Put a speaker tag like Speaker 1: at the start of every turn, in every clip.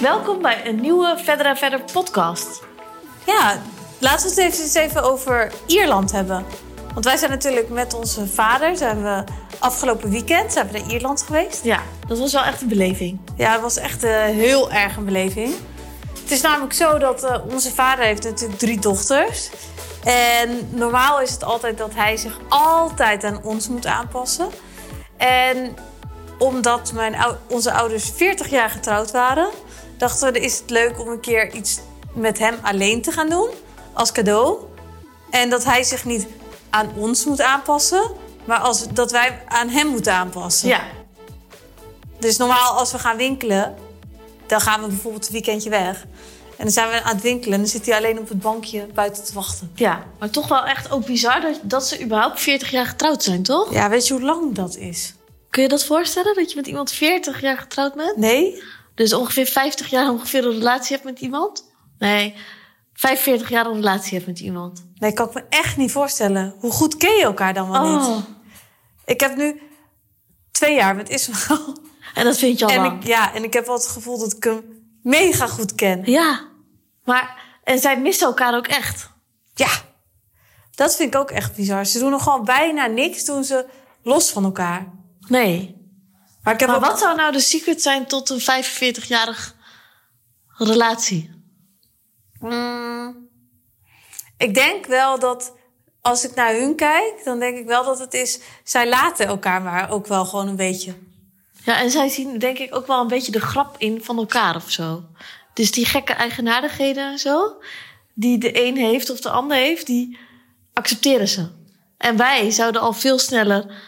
Speaker 1: welkom bij een nieuwe Verder en Verder podcast.
Speaker 2: Ja, laten we het even, eens even over Ierland hebben. Want wij zijn natuurlijk met onze vader, zijn we afgelopen weekend zijn we naar Ierland geweest.
Speaker 1: Ja, dat was wel echt een beleving.
Speaker 2: Ja, het was echt eh, heel erg een beleving. Het is namelijk zo dat eh, onze vader heeft natuurlijk drie dochters. En normaal is het altijd dat hij zich altijd aan ons moet aanpassen. En omdat mijn, ou- onze ouders 40 jaar getrouwd waren, dachten we, dan is het leuk om een keer iets met hem alleen te gaan doen als cadeau. En dat hij zich niet aan ons moet aanpassen, maar als, dat wij aan hem moeten aanpassen.
Speaker 1: Ja,
Speaker 2: Dus normaal als we gaan winkelen, dan gaan we bijvoorbeeld een weekendje weg. En dan zijn we aan het winkelen en dan zit hij alleen op het bankje buiten te wachten.
Speaker 1: ja. Maar toch wel echt ook bizar dat, dat ze überhaupt 40 jaar getrouwd zijn, toch?
Speaker 2: Ja, weet je hoe lang dat is?
Speaker 1: Kun je dat voorstellen, dat je met iemand 40 jaar getrouwd bent?
Speaker 2: Nee?
Speaker 1: Dus ongeveer 50 jaar ongeveer een relatie hebt met iemand? Nee, 45 jaar een relatie hebt met iemand.
Speaker 2: Nee, kan ik me echt niet voorstellen. Hoe goed ken je elkaar dan wel
Speaker 1: Oh.
Speaker 2: niet? Ik heb nu twee jaar met Ismael.
Speaker 1: en dat vind je al
Speaker 2: En
Speaker 1: lang.
Speaker 2: ik, ja, en ik heb wel het gevoel dat ik hem mega goed ken.
Speaker 1: Ja, maar en zij missen elkaar ook echt.
Speaker 2: Ja, dat vind ik ook echt bizar. Ze doen nog gewoon bijna niks, doen ze los van elkaar.
Speaker 1: Nee.
Speaker 2: Maar ik heb
Speaker 1: Maar
Speaker 2: ook-
Speaker 1: wat zou nou de secret zijn tot een 45-jarig relatie?
Speaker 2: Mm, ik denk wel dat als ik naar hun kijk, dan denk ik wel dat het is. Zij laten elkaar maar ook wel gewoon een beetje.
Speaker 1: Ja, en zij zien denk ik ook wel een beetje de grap in van elkaar of zo. Dus die gekke eigenaardigheden en zo, die de een heeft of de ander heeft, die accepteren ze. En wij zouden al veel sneller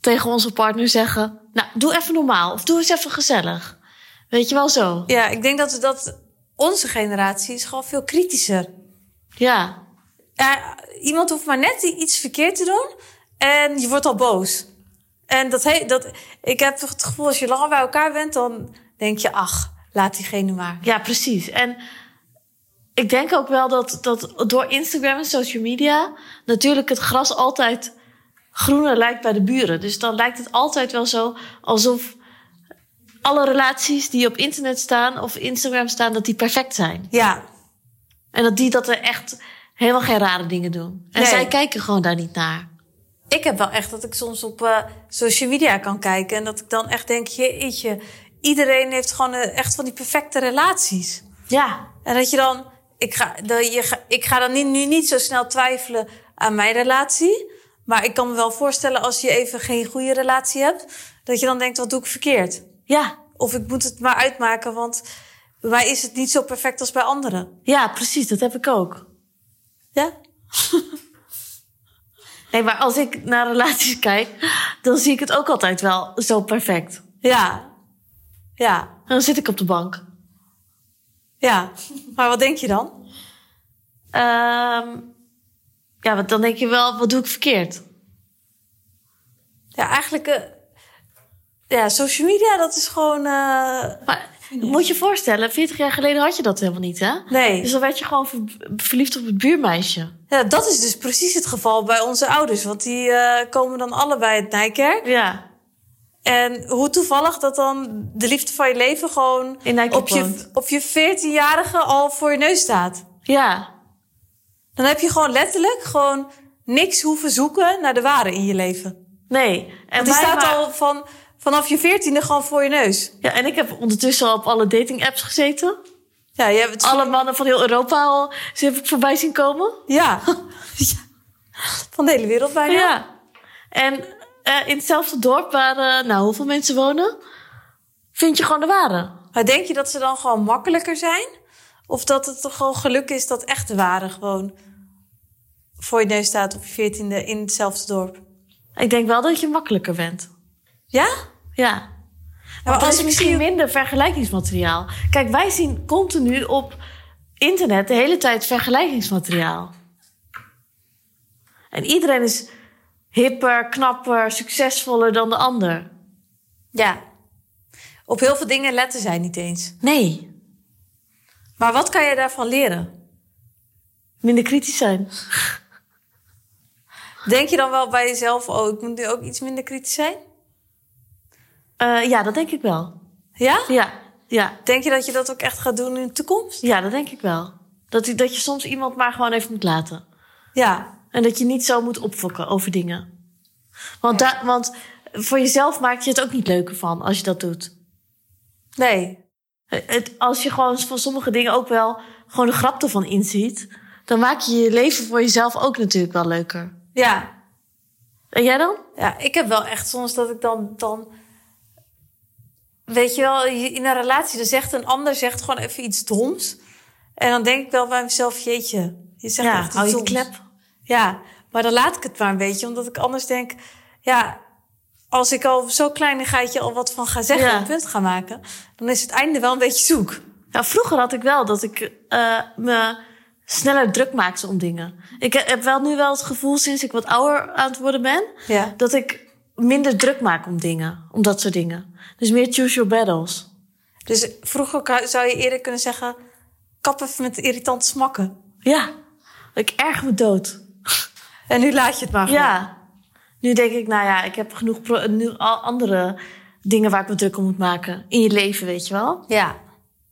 Speaker 1: tegen onze partner zeggen: Nou, doe even normaal of doe eens even gezellig. Weet je wel zo?
Speaker 2: Ja, ik denk dat, we dat onze generatie is gewoon veel kritischer.
Speaker 1: Ja,
Speaker 2: Ja, iemand hoeft maar net iets verkeerd te doen en je wordt al boos. En dat he, dat, ik heb toch het gevoel, als je langer bij elkaar bent, dan denk je, ach, laat diegene maar.
Speaker 1: Ja, precies. En ik denk ook wel dat, dat door Instagram en social media natuurlijk het gras altijd groener lijkt bij de buren. Dus dan lijkt het altijd wel zo alsof alle relaties die op internet staan of Instagram staan, dat die perfect zijn.
Speaker 2: Ja,
Speaker 1: En dat die dat er echt helemaal geen rare dingen doen. En
Speaker 2: Nee.
Speaker 1: zij kijken gewoon daar niet naar.
Speaker 2: Ik heb wel echt dat ik soms op eh, social media kan kijken. En dat ik dan echt denk, jeetje, iedereen heeft gewoon eh, echt van die perfecte relaties.
Speaker 1: Ja,
Speaker 2: En dat je dan, ik ga, dat je, ga- ik ga dan niet, nu niet zo snel twijfelen aan mijn relatie. Maar ik kan me wel voorstellen als je even geen goede relatie hebt, dat je dan denkt, wat doe ik verkeerd?
Speaker 1: ja,
Speaker 2: Of ik moet het maar uitmaken, want bij mij is het niet zo perfect als bij anderen.
Speaker 1: ja, precies. Dat heb ik ook.
Speaker 2: Ja?
Speaker 1: Nee, maar als ik naar relaties kijk, dan zie ik het ook altijd wel zo perfect.
Speaker 2: Ja. Ja.
Speaker 1: En dan zit ik op de bank.
Speaker 2: Ja. Maar wat denk je dan?
Speaker 1: Ehm ja, want dan denk je wel, wat doe ik verkeerd?
Speaker 2: Ja, eigenlijk. eh, ja, social media, dat is gewoon. eh,
Speaker 1: Maar moet je je voorstellen, 40 jaar geleden had je dat helemaal niet, hè? Dus
Speaker 2: nee.
Speaker 1: dan werd je gewoon ver- verliefd op het buurmeisje.
Speaker 2: Ja, dat is dus precies het geval bij onze ouders. Want die eh, komen dan allebei uit Nijkerk.
Speaker 1: Ja.
Speaker 2: En hoe toevallig dat dan de liefde van je leven gewoon.
Speaker 1: In Nijkerk
Speaker 2: op je,
Speaker 1: woont.
Speaker 2: op je 14-jarige al voor je neus staat.
Speaker 1: Ja.
Speaker 2: Dan heb je gewoon letterlijk gewoon niks hoeven zoeken naar de ware in je leven.
Speaker 1: Nee. En,
Speaker 2: Want die
Speaker 1: wij
Speaker 2: staat
Speaker 1: wa-
Speaker 2: al van, vanaf je 14e gewoon voor je neus.
Speaker 1: ja, en ik heb ondertussen al op alle dating apps gezeten.
Speaker 2: Ja, je hebt het
Speaker 1: Alle mannen van heel Europa al, ze heb ik voorbij zien komen.
Speaker 2: Ja. Ja. Van de hele wereld bijna.
Speaker 1: Ja. En eh, in hetzelfde dorp waar, eh, nou, hoeveel mensen wonen, vind je gewoon de ware.
Speaker 2: Maar denk je dat ze dan gewoon makkelijker zijn? Of dat het toch gewoon geluk is dat echt de ware gewoon voor je neus staat op je veertiende in hetzelfde dorp?
Speaker 1: Ik denk wel dat je makkelijker bent.
Speaker 2: Ja?
Speaker 1: Ja.
Speaker 2: Ja, maar
Speaker 1: Want er
Speaker 2: Nou, als ik
Speaker 1: is misschien
Speaker 2: misschien...
Speaker 1: minder vergelijkingsmateriaal. Kijk, wij zien continu op internet de hele tijd vergelijkingsmateriaal. En iedereen is hipper, knapper, succesvoller dan de ander.
Speaker 2: Ja. Op heel veel dingen letten zij niet eens.
Speaker 1: Nee.
Speaker 2: Maar wat kan je daarvan leren?
Speaker 1: Minder kritisch zijn.
Speaker 2: Denk je dan wel bij jezelf, oh, ik moet nu ook iets minder kritisch zijn?
Speaker 1: Eh, ja, dat denk ik wel.
Speaker 2: Ja?
Speaker 1: Ja. Ja,
Speaker 2: Denk je dat je dat ook echt gaat doen in de toekomst?
Speaker 1: ja dat denk ik wel. Dat, die- dat je soms iemand maar gewoon even moet laten.
Speaker 2: Ja.
Speaker 1: En dat je niet zo moet opfokken over dingen. Want, da- want voor jezelf maak je het ook niet leuker van als je dat doet.
Speaker 2: Nee.
Speaker 1: Het, als je gewoon van sommige dingen ook wel gewoon de grap ervan inziet... dan maak je je leven voor jezelf ook natuurlijk wel leuker.
Speaker 2: Ja.
Speaker 1: En jij dan?
Speaker 2: Ja, ik heb wel echt soms dat ik dan... dan weet je wel, je- in een relatie, dan zegt een ander zegt gewoon even iets doms. En dan denk ik wel bij mezelf, jeetje, je zegt echt iets
Speaker 1: hou je
Speaker 2: doms.
Speaker 1: klep.
Speaker 2: Ja, maar dan laat ik het maar een beetje. Omdat ik anders denk, ja, als ik al zo'n kleinigheidje al wat van ga zeggen...
Speaker 1: Ja.
Speaker 2: en een punt ga maken, dan is het einde wel een beetje zoek.
Speaker 1: Nou, vroeger had ik wel dat ik eh, me sneller druk maakte om dingen. Ik he- heb wel nu wel het gevoel, sinds ik wat ouder aan het worden ben,
Speaker 2: Ja.
Speaker 1: dat ik minder druk maak om dingen, om dat soort dingen. Dus meer choose your battles.
Speaker 2: Dus vroeger ka- zou je eerder kunnen zeggen... kap even met de irritante smakken.
Speaker 1: Ja, ik erg me dood.
Speaker 2: En nu laat je het maar gewoon.
Speaker 1: Ja. Nu denk ik, nou ja, ik heb genoeg pro- nu al andere dingen waar ik me druk om moet maken. In je leven, weet je wel.
Speaker 2: ja.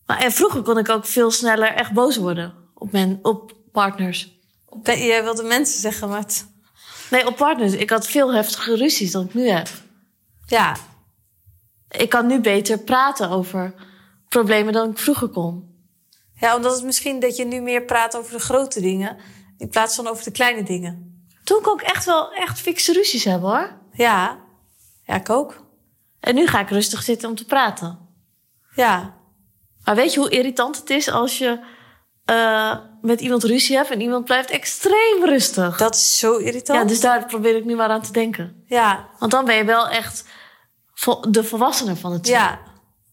Speaker 1: Maar en vroeger kon ik ook veel sneller echt boos worden op, men, op partners.
Speaker 2: Nee, jij wilde mensen zeggen, maar... het-
Speaker 1: Nee, op partners. Ik had veel heftiger ruzies dan ik nu heb.
Speaker 2: Ja.
Speaker 1: Ik kan nu beter praten over problemen dan ik vroeger kon.
Speaker 2: ja, omdat het misschien dat je nu meer praat over de grote dingen... in plaats van over de kleine dingen.
Speaker 1: Toen kon ik echt wel echt fikse ruzies hebben hoor.
Speaker 2: Ja. Ja, ik ook.
Speaker 1: En nu ga ik rustig zitten om te praten.
Speaker 2: Ja.
Speaker 1: Maar weet je hoe irritant het is als je eh, met iemand ruzie hebt en iemand blijft extreem rustig?
Speaker 2: Dat is zo
Speaker 1: Ja,
Speaker 2: irritant.
Speaker 1: dus daar probeer ik nu maar aan te denken.
Speaker 2: ja.
Speaker 1: Want dan ben je wel echt vol- de volwassene van het team.
Speaker 2: Ja.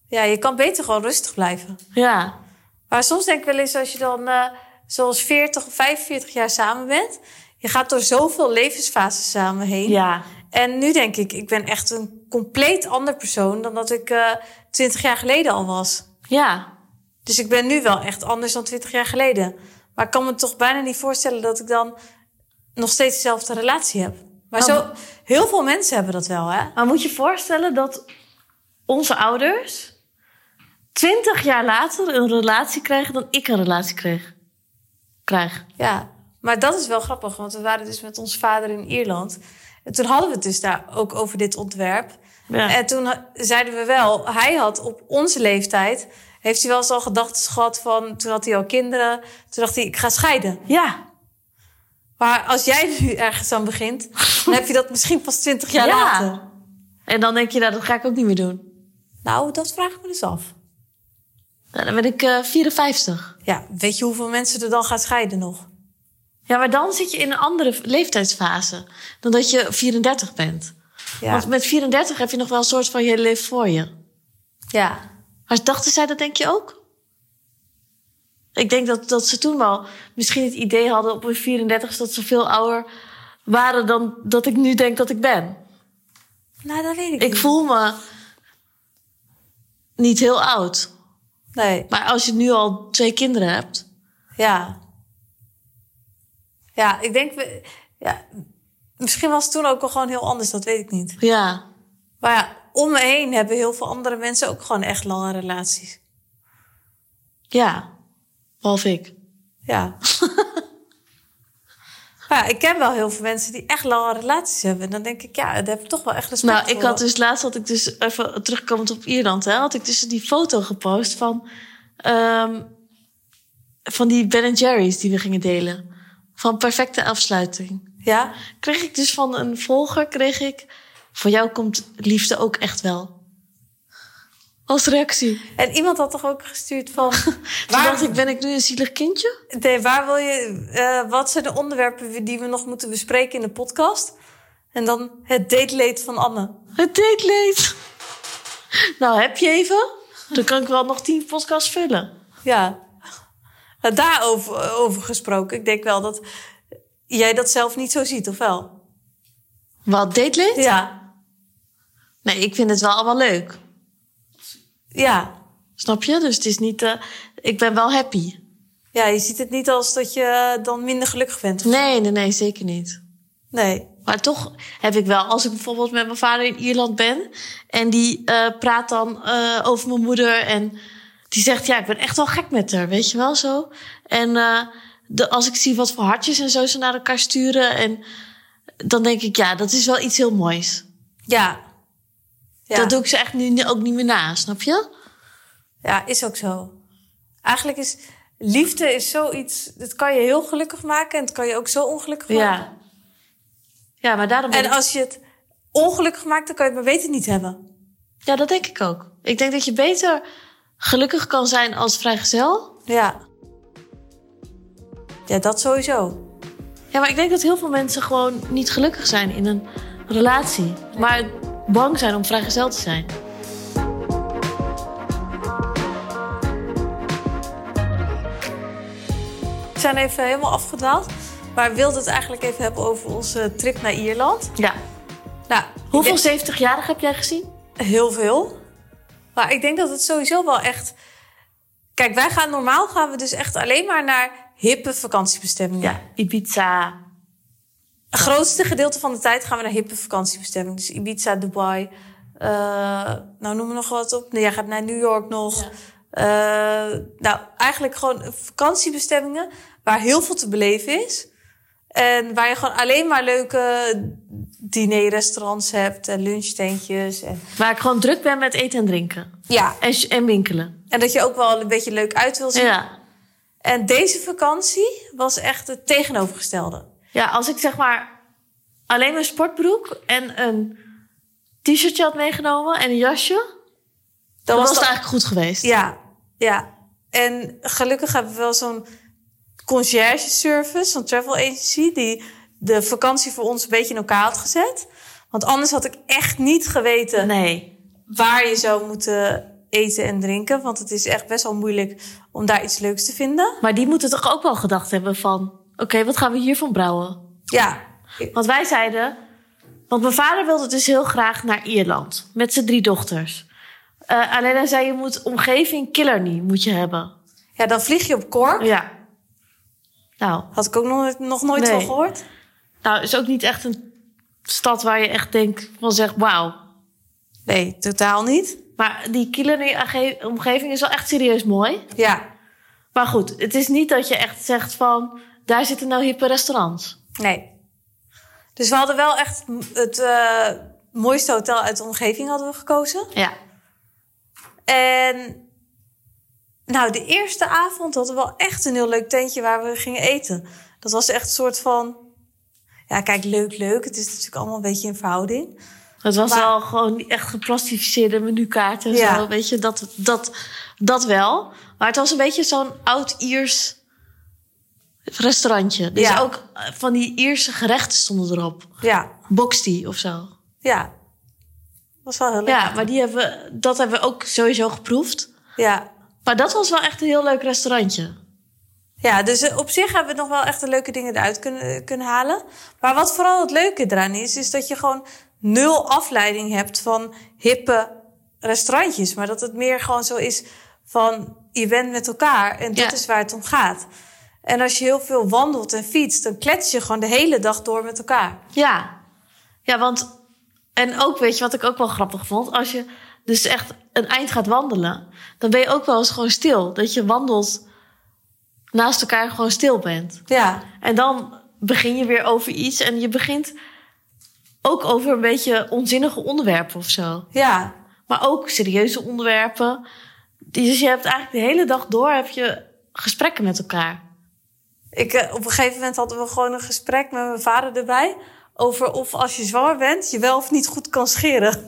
Speaker 2: ja, je kan beter gewoon rustig blijven.
Speaker 1: ja.
Speaker 2: Maar soms denk ik wel eens als je dan eh, zoals 40 of 45 jaar samen bent... je gaat door zoveel levensfases samen heen.
Speaker 1: Ja.
Speaker 2: En nu denk ik, ik ben echt een compleet ander persoon... dan dat ik eh 20 jaar geleden al was.
Speaker 1: Ja.
Speaker 2: Dus ik ben nu wel echt anders dan 20 jaar geleden. Maar ik kan me toch bijna niet voorstellen dat ik dan... nog steeds dezelfde relatie heb. Maar
Speaker 1: Oh.
Speaker 2: zo, heel veel mensen hebben dat wel, hè?
Speaker 1: Maar moet je voorstellen dat onze ouders twintig jaar later een relatie krijgen dan ik een relatie kreeg. Krijg.
Speaker 2: Ja, maar dat is wel grappig, want we waren dus met ons vader in Ierland. En toen hadden we het dus daar ook over dit ontwerp.
Speaker 1: Ja.
Speaker 2: En toen ha- zeiden we wel, hij had op onze leeftijd... heeft hij wel eens al gedachten gehad van... toen had hij al kinderen, toen dacht hij, ik ga scheiden.
Speaker 1: Ja.
Speaker 2: Maar als jij nu ergens aan begint... dan heb je dat misschien pas twintig jaar
Speaker 1: Ja.
Speaker 2: later.
Speaker 1: En dan denk je, nou, dat ga ik ook niet meer doen.
Speaker 2: Nou, dat vraag ik me dus af.
Speaker 1: Nou, Dan ben ik eh 54.
Speaker 2: Ja, weet je hoeveel mensen er dan gaan scheiden nog?
Speaker 1: Ja, maar dan zit je in een andere leeftijdsfase dan dat je 34 bent.
Speaker 2: Ja,
Speaker 1: Want met 34 heb je nog wel een soort van je leven voor je.
Speaker 2: ja.
Speaker 1: Maar dachten zij dat, denk je ook? Ik denk dat, dat ze toen wel misschien het idee hadden op hun 34 dat ze veel ouder waren dan dat ik nu denk dat ik ben.
Speaker 2: nou dat weet ik,
Speaker 1: Ik
Speaker 2: niet.
Speaker 1: voel me niet heel oud.
Speaker 2: Nee,
Speaker 1: Maar als je nu al twee kinderen hebt.
Speaker 2: Ja. Ja, ik denk... we- Ja, misschien was het toen ook al gewoon heel anders, dat weet ik niet.
Speaker 1: Ja,
Speaker 2: Maar ja, om me heen hebben heel veel andere mensen ook gewoon echt lange relaties.
Speaker 1: ja. Behalve ik.
Speaker 2: Ja. maar ja, ik ken wel heel veel mensen die echt lange relaties hebben. En dan denk ik, ja, daar heb ik toch wel echt respect
Speaker 1: Nou, ik
Speaker 2: voor.
Speaker 1: had dus laatst had ik dus even terugkomend op Ierland, hè, had ik dus die foto gepost van, ehm, van die Ben Jerry's die we gingen delen. Van perfecte afsluiting.
Speaker 2: Ja?
Speaker 1: Kreeg ik dus van een volger, kreeg ik. Voor jou komt liefde ook echt wel. Als reactie.
Speaker 2: En iemand had toch ook gestuurd van...
Speaker 1: Toen
Speaker 2: waar,
Speaker 1: dacht ik, ben ik nu een zielig kindje?
Speaker 2: nee, waar wil je... eh, wat zijn de onderwerpen die we nog moeten bespreken in de podcast? En dan het dateleed van Anne.
Speaker 1: Het deed leed. Nou, heb je even? Dan kan ik wel nog tien podcasts vullen.
Speaker 2: Ja. Nou, daarover over gesproken. Ik denk wel dat jij dat zelf niet zo ziet, of wel?
Speaker 1: Wat deed leed?
Speaker 2: Ja.
Speaker 1: Nee, ik vind het wel allemaal leuk.
Speaker 2: Ja.
Speaker 1: Snap je? Dus het is niet. eh, ik ben wel happy.
Speaker 2: Ja, je ziet het niet als dat je eh, dan minder gelukkig bent. of-
Speaker 1: Nee, nee, nee, zeker niet.
Speaker 2: Nee.
Speaker 1: Maar toch heb ik wel, als ik bijvoorbeeld met mijn vader in Ierland ben en die eh, praat dan eh, over mijn moeder en Die zegt, ja, ik ben echt wel gek met haar, weet je wel, zo. En eh, de, als ik zie wat voor hartjes en zo ze naar elkaar sturen... En, dan denk ik, ja, dat is wel iets heel moois.
Speaker 2: Ja. ja.
Speaker 1: Dat doe ik ze echt nu ni- ook niet meer na, snap je?
Speaker 2: Ja, is ook zo. Eigenlijk is liefde is zoiets. Dat kan je heel gelukkig maken en het kan je ook zo ongelukkig maken.
Speaker 1: Ja. Ja, maar daarom... ben
Speaker 2: En
Speaker 1: ik-
Speaker 2: als je het ongelukkig maakt, dan kan je het maar beter niet hebben.
Speaker 1: Ja, dat denk ik ook. Ik denk dat je beter gelukkig kan zijn als vrijgezel...
Speaker 2: Ja. Ja, dat sowieso.
Speaker 1: Ja, maar ik denk dat heel veel mensen gewoon niet gelukkig zijn in een relatie. Maar bang zijn om vrijgezel te zijn.
Speaker 2: We zijn even helemaal afgedwaald. Maar wilde het eigenlijk even hebben over onze trip naar Ierland.
Speaker 1: Ja.
Speaker 2: Nou,
Speaker 1: Hoeveel
Speaker 2: ik denk-
Speaker 1: 70-jarigen heb jij gezien?
Speaker 2: Heel veel. Maar ik denk dat het sowieso wel echt. Kijk, wij gaan normaal gaan we dus echt alleen maar naar hippe vakantiebestemmingen.
Speaker 1: Ibiza.
Speaker 2: Het grootste gedeelte van de tijd gaan we naar hippe vakantiebestemmingen. Dus Ibiza, Dubai. eh, nou, noem er nog wat op. Nee, jij gaat naar New York nog. Eh, nou, eigenlijk gewoon vakantiebestemmingen waar heel veel te beleven is. En waar je gewoon alleen maar leuke dinerrestaurants hebt en lunchtentjes. En...
Speaker 1: Waar ik gewoon druk ben met eten en drinken.
Speaker 2: Ja,
Speaker 1: En, sh- en winkelen.
Speaker 2: en dat je ook wel een beetje leuk uit wil zien.
Speaker 1: Ja.
Speaker 2: En deze vakantie was echt het tegenovergestelde.
Speaker 1: ja, als ik zeg maar alleen mijn sportbroek en een t-shirtje had meegenomen en een jasje... Dan,
Speaker 2: Dan
Speaker 1: was het
Speaker 2: dat-
Speaker 1: eigenlijk goed geweest.
Speaker 2: Ja, ja. En gelukkig hebben we wel zo'n concierge service, zo'n travel agency, die de vakantie voor ons een beetje in elkaar had gezet. Want anders had ik echt niet geweten
Speaker 1: Nee.
Speaker 2: waar je zou moeten eten en drinken. Want het is echt best wel moeilijk om daar iets leuks te vinden.
Speaker 1: Maar die moeten toch ook wel gedacht hebben van... Oké, wat gaan we hiervan brouwen?
Speaker 2: Ja,
Speaker 1: Want wij zeiden. Want mijn vader wilde dus heel graag naar Ierland. Met zijn drie dochters. Eh, alleen hij zei: je moet omgeving Killarney moet je hebben.
Speaker 2: ja dan vlieg je op Cork.
Speaker 1: Ja. Nou,
Speaker 2: Had ik ook nog, nog nooit
Speaker 1: Nee.
Speaker 2: van gehoord.
Speaker 1: nou, is ook niet echt een stad waar je echt denkt van zegt: wauw.
Speaker 2: Nee, totaal niet.
Speaker 1: Maar die Killarney-omgeving is wel echt serieus mooi.
Speaker 2: Ja,
Speaker 1: Maar goed, het is niet dat je echt zegt van... daar zitten nou hippe restaurants.
Speaker 2: nee. Dus we hadden wel echt m- het eh, mooiste hotel uit de omgeving hadden we gekozen.
Speaker 1: Ja.
Speaker 2: En nou, de eerste avond hadden we wel echt een heel leuk tentje waar we gingen eten. Dat was echt een soort van, ja kijk, leuk, leuk. Het is natuurlijk allemaal een beetje in verhouding.
Speaker 1: Het was
Speaker 2: Maar-
Speaker 1: wel gewoon die echt geplastificeerde menukaarten en
Speaker 2: Ja.
Speaker 1: zo, weet je, dat, dat, dat wel. Maar het was een beetje zo'n oud-Iers restaurantje. Dus
Speaker 2: Ja.
Speaker 1: ook eh, van die Ierse gerechten stonden erop.
Speaker 2: Ja,
Speaker 1: Boxty of zo.
Speaker 2: ja. Was wel heel leuk.
Speaker 1: Ja, maar die hebben, dat hebben we ook sowieso geproefd.
Speaker 2: ja.
Speaker 1: Maar dat was wel echt een heel leuk restaurantje.
Speaker 2: Ja, dus eh, op zich hebben we nog wel echt de leuke dingen eruit kunnen, eh, kunnen halen. Maar wat vooral het leuke eraan is, is dat je gewoon nul afleiding hebt van hippe restaurantjes. Maar dat het meer gewoon zo is van je bent met elkaar en dat
Speaker 1: Ja.
Speaker 2: is waar het om gaat. En als je heel veel wandelt en fietst, dan klets je gewoon de hele dag door met elkaar.
Speaker 1: Ja. Ja, want... En ook, weet je, wat ik ook wel grappig vond? Als je dus echt een eind gaat wandelen... dan ben je ook wel eens gewoon stil. Dat je wandelt naast elkaar gewoon stil bent.
Speaker 2: Ja,
Speaker 1: En dan begin je weer over iets... en je begint ook over een beetje onzinnige onderwerpen of zo.
Speaker 2: ja,
Speaker 1: Maar ook serieuze onderwerpen. Dus je hebt eigenlijk de hele dag door... heb je gesprekken met elkaar.
Speaker 2: Ik, eh, op een gegeven moment hadden we gewoon een gesprek met mijn vader erbij. Over of als je zwanger bent, je wel of niet goed kan scheren.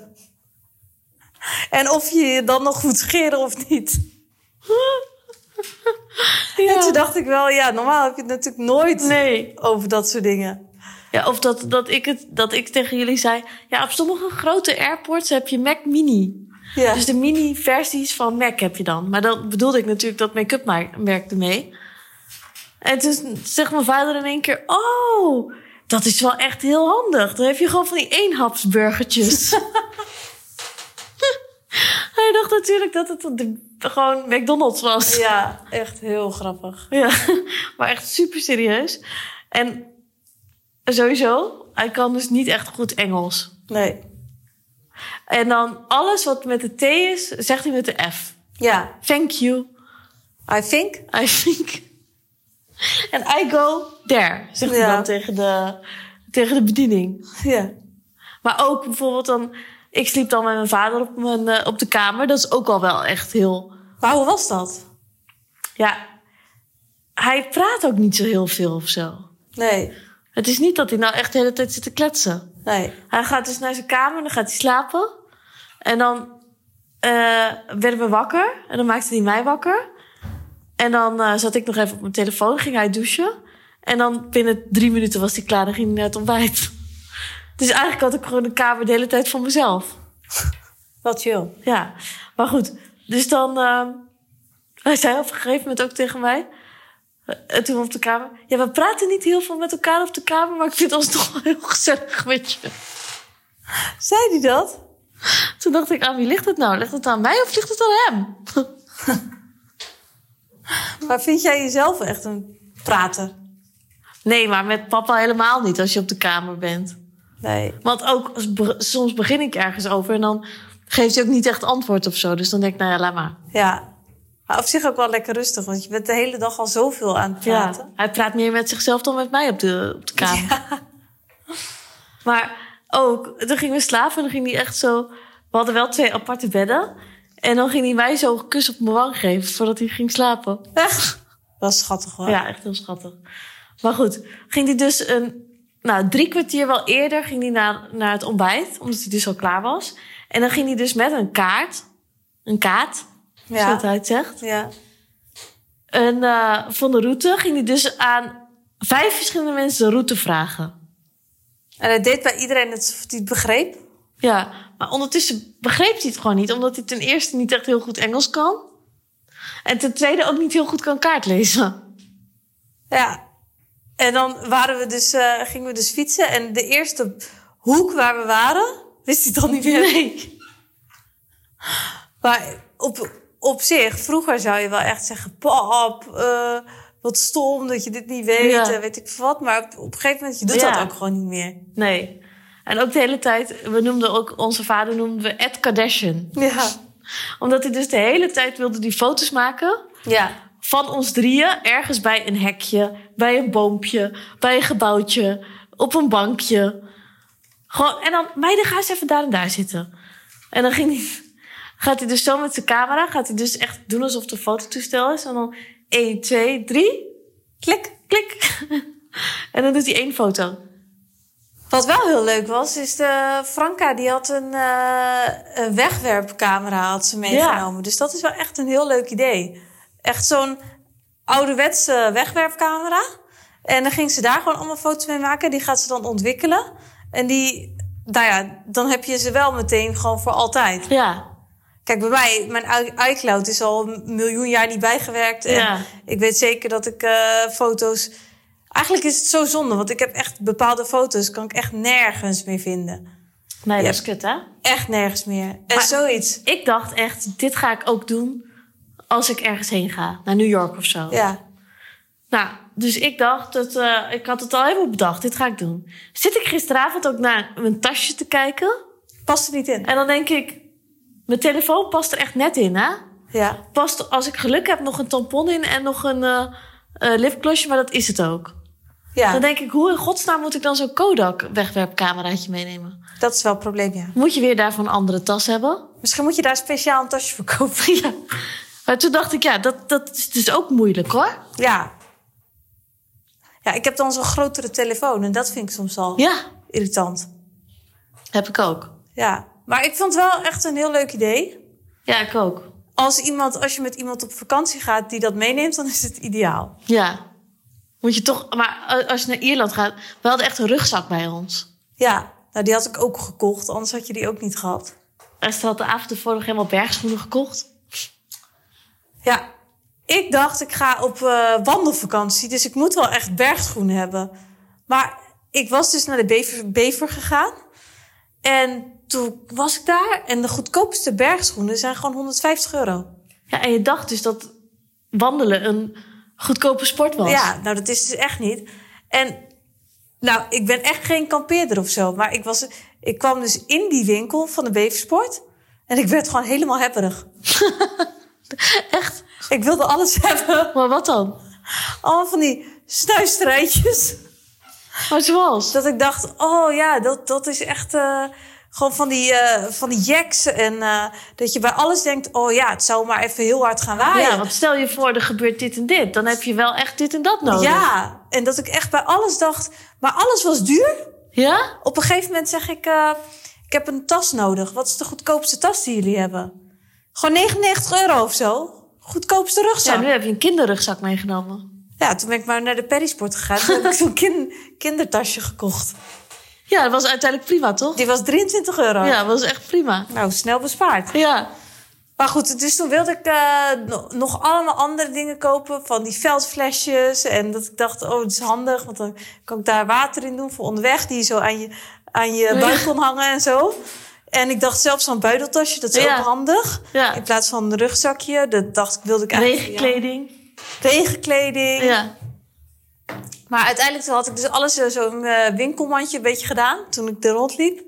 Speaker 2: En of je je dan nog moet scheren of niet. En toen dacht ik wel, ja, normaal heb je het natuurlijk nooit
Speaker 1: Nee.
Speaker 2: over dat soort dingen.
Speaker 1: Ja, of dat, dat, ik het, dat ik tegen jullie zei... Ja, op sommige grote airports heb je Mac Mini.
Speaker 2: Ja,
Speaker 1: Dus de mini-versies van Mac heb je dan. Maar dan bedoelde ik natuurlijk dat make-up ma- merk ermee. En toen zegt mijn vader in één keer... Oh, dat is wel echt heel handig. Dan heb je gewoon van die eenhapsburgertjes. Hij dacht natuurlijk dat het de- gewoon McDonald's was.
Speaker 2: ja echt heel grappig.
Speaker 1: Ja, maar echt super serieus. En sowieso, hij kan dus niet echt goed Engels.
Speaker 2: Nee.
Speaker 1: En dan alles wat met de T is, zegt hij met de F.
Speaker 2: Ja.
Speaker 1: Thank you.
Speaker 2: I think.
Speaker 1: I think. En I go there, zegt hij
Speaker 2: Ja.
Speaker 1: dan tegen de, tegen de bediening.
Speaker 2: Ja.
Speaker 1: Maar ook bijvoorbeeld dan... Ik sliep dan met mijn vader op, mijn, eh, op de kamer. Dat is ook al wel echt heel...
Speaker 2: Maar hoe was dat?
Speaker 1: Ja, hij praat ook niet zo heel veel of zo.
Speaker 2: Nee.
Speaker 1: Het is niet dat hij nou echt de hele tijd zit te kletsen.
Speaker 2: Nee.
Speaker 1: Hij gaat dus naar zijn kamer, dan gaat hij slapen. En dan eh, werden we wakker. En dan maakte hij mij wakker. En dan eh, zat ik nog even op mijn telefoon, ging hij douchen. En dan binnen drie minuten was hij klaar, dan ging hij naar het ontbijt. Dus eigenlijk had ik gewoon de kamer de hele tijd voor mezelf.
Speaker 2: Wat chill.
Speaker 1: Ja, maar goed. Dus dan... eh, hij zei op een gegeven moment ook tegen mij... eh, toen we op de kamer... Ja, we praten niet heel veel met elkaar op de kamer... maar ik vind ons toch wel heel gezellig met je.
Speaker 2: Zei hij dat?
Speaker 1: Toen dacht ik, aan wie ligt het nou? Ligt het aan mij of ligt het aan hem?
Speaker 2: Maar vind jij jezelf echt een prater?
Speaker 1: Nee, maar met papa helemaal niet als je op de kamer bent.
Speaker 2: Nee.
Speaker 1: Want ook als be- soms begin ik ergens over en dan geeft hij ook niet echt antwoord of zo. Dus dan denk ik, nou ja, laat maar.
Speaker 2: Ja. Maar op zich ook wel lekker rustig, want je bent de hele dag al zoveel aan het praten.
Speaker 1: Ja, hij praat meer met zichzelf dan met mij op de, op de kamer. Maar ook, toen gingen we slapen en dan ging hij echt zo... We hadden wel twee aparte bedden. En dan ging hij mij zo een kus op mijn wang geven voordat hij ging slapen.
Speaker 2: Echt? Dat is schattig hoor.
Speaker 1: Oh, Ja, echt heel schattig. Maar goed, ging hij dus een... Nou, drie kwartier wel eerder ging hij naar, naar het ontbijt. Omdat hij dus al klaar was. En dan ging hij dus met een kaart... Een kaart, zoals hij het zegt.
Speaker 2: ja.
Speaker 1: En eh, van de route ging hij dus aan vijf verschillende mensen de route vragen.
Speaker 2: En hij deed bij iedereen alsof hij het begreep.
Speaker 1: Ja, maar ondertussen begreep hij het gewoon niet. Omdat hij ten eerste niet echt heel goed Engels kan. En ten tweede ook niet heel goed kan kaart lezen.
Speaker 2: Ja. En dan waren we dus, eh, gingen we dus fietsen. En de eerste hoek waar we waren, wist hij dan niet meer.
Speaker 1: Nee.
Speaker 2: Maar op, op zich, vroeger zou je wel echt zeggen... Pap, eh, wat stom dat je dit niet weet,
Speaker 1: Ja.
Speaker 2: eh, weet ik veel wat. Maar op, op een gegeven moment, je doet
Speaker 1: Ja.
Speaker 2: dat ook gewoon niet meer.
Speaker 1: Nee. En ook de hele tijd, we noemden ook, onze vader noemden we Ed Kardashian.
Speaker 2: Ja.
Speaker 1: Omdat hij dus de hele tijd wilde die foto's maken
Speaker 2: Ja.
Speaker 1: van ons drieën. Ergens bij een hekje, bij een boompje, bij een gebouwtje, op een bankje. Gewoon, en dan, meiden, ga eens even daar en daar zitten. En dan ging hij, gaat hij dus zo met zijn camera, gaat hij dus echt doen alsof het een fototoestel is. En dan 1, 2, 3,
Speaker 2: Klik.
Speaker 1: klik. en dan doet hij één foto.
Speaker 2: Wat wel heel leuk was, is de Franca die had een, eh, een wegwerpcamera had ze meegenomen. Dus dat is wel echt een heel leuk idee. Echt zo'n ouderwetse wegwerpcamera. En dan ging ze daar gewoon allemaal foto's mee maken. Die gaat ze dan ontwikkelen. En die, nou ja, dan heb je ze wel meteen gewoon voor altijd.
Speaker 1: Ja,
Speaker 2: Kijk, bij mij, mijn i- iCloud is al een miljoen jaar niet bijgewerkt. En
Speaker 1: Ja.
Speaker 2: ik weet zeker dat ik eh, foto's... Eigenlijk is het zo zonde, want ik heb echt bepaalde foto's... kan ik echt nergens meer vinden.
Speaker 1: nee, dat
Speaker 2: Ja.
Speaker 1: is kut hè.
Speaker 2: Echt nergens meer. En
Speaker 1: Maar-
Speaker 2: zoiets.
Speaker 1: Ik dacht echt, dit ga ik ook doen als ik ergens heen ga. Naar New York of zo.
Speaker 2: Ja.
Speaker 1: Nou, dus ik dacht, dat, eh, ik had het al helemaal bedacht. Dit ga ik doen. Zit ik gisteravond ook naar mijn tasje te kijken.
Speaker 2: Past er niet in.
Speaker 1: En dan denk ik, mijn telefoon past er echt net in hè.
Speaker 2: Ja.
Speaker 1: Past, als ik geluk heb, nog een tampon in en nog een eh eh, lipglossje. Maar dat is het ook.
Speaker 2: Ja,
Speaker 1: Dan denk ik, hoe in godsnaam moet ik dan zo'n Kodak wegwerpcameraatje meenemen?
Speaker 2: dat is wel een probleem, ja.
Speaker 1: Moet je weer daarvan een andere tas hebben?
Speaker 2: Misschien moet je daar speciaal een tasje voor kopen.
Speaker 1: Ja. Maar toen dacht ik, ja, dat, dat is dus ook moeilijk hoor.
Speaker 2: Ja. Ja, ik heb dan zo'n grotere telefoon. En dat vind ik soms al
Speaker 1: Ja,
Speaker 2: irritant.
Speaker 1: heb ik ook.
Speaker 2: Ja. Maar ik vond het wel echt een heel leuk idee.
Speaker 1: Ja, ik ook.
Speaker 2: als, iemand, als je met iemand op vakantie gaat die dat meeneemt, dan is het ideaal.
Speaker 1: Ja. Moet je toch, maar als je naar Ierland gaat, we hadden echt een rugzak bij ons.
Speaker 2: Ja, nou die had ik ook gekocht, anders had je die ook niet gehad.
Speaker 1: Esther had de avond ervoor nog helemaal bergschoenen gekocht.
Speaker 2: Ja, ik dacht ik ga op eh, wandelvakantie, dus ik moet wel echt bergschoenen hebben. Maar ik was dus naar de Bever, Bever gegaan en toen was ik daar en de goedkoopste bergschoenen zijn gewoon 150 euro.
Speaker 1: Ja, en je dacht dus dat wandelen een goedkope sport was.
Speaker 2: Ja, nou dat is dus echt niet. En nou, ik ben echt geen kampeerder of zo. Maar ik, was, ik kwam dus in die winkel van de Beversport. En ik werd gewoon helemaal hebberig.
Speaker 1: Echt?
Speaker 2: Ik wilde alles hebben.
Speaker 1: Maar wat dan?
Speaker 2: Allemaal van die snuisterijtjes.
Speaker 1: Maar zoals?
Speaker 2: Dat ik dacht, oh ja, dat, dat is echt eh, gewoon van die, eh, van die jacks. En eh, dat je bij alles denkt, oh ja, het zou maar even heel hard gaan waaien.
Speaker 1: ja, want stel je voor er gebeurt dit en dit. Dan heb je wel echt dit en dat nodig.
Speaker 2: Ja, en dat ik echt bij alles dacht, maar alles was duur.
Speaker 1: Ja?
Speaker 2: Op een gegeven moment zeg ik, eh, ik heb een tas nodig. Wat is de goedkoopste tas die jullie hebben? Gewoon 99 euro of zo. Goedkoopste
Speaker 1: Ja,
Speaker 2: rugzak.
Speaker 1: nu
Speaker 2: Ja,
Speaker 1: heb je een kinderrugzak meegenomen.
Speaker 2: toen ben ik maar naar de Perisport gegaan. Toen heb ik zo'n kin- kindertasje gekocht.
Speaker 1: Ja, dat was uiteindelijk prima, toch?
Speaker 2: Die was 23 euro.
Speaker 1: Ja, dat was echt prima.
Speaker 2: Nou, snel bespaard.
Speaker 1: Ja.
Speaker 2: Maar goed, dus toen wilde ik eh, no- nog allemaal andere dingen kopen. Van die veldflesjes. En dat ik dacht, oh, dat is handig. Want dan kan ik daar water in doen voor onderweg. Die je zo aan je, aan je
Speaker 1: Ja.
Speaker 2: buik kon hangen en zo. En ik dacht zelfs zo'n buideltasje, dat is
Speaker 1: Ja.
Speaker 2: ook handig.
Speaker 1: Ja.
Speaker 2: In plaats van een rugzakje. Dat dacht ik, wilde ik eigenlijk...
Speaker 1: Regenkleding.
Speaker 2: ja, regenkleding.
Speaker 1: Ja.
Speaker 2: Maar uiteindelijk toen had ik dus alles eh, zo in mijn winkelmandje een beetje gedaan. Toen ik er rondliep.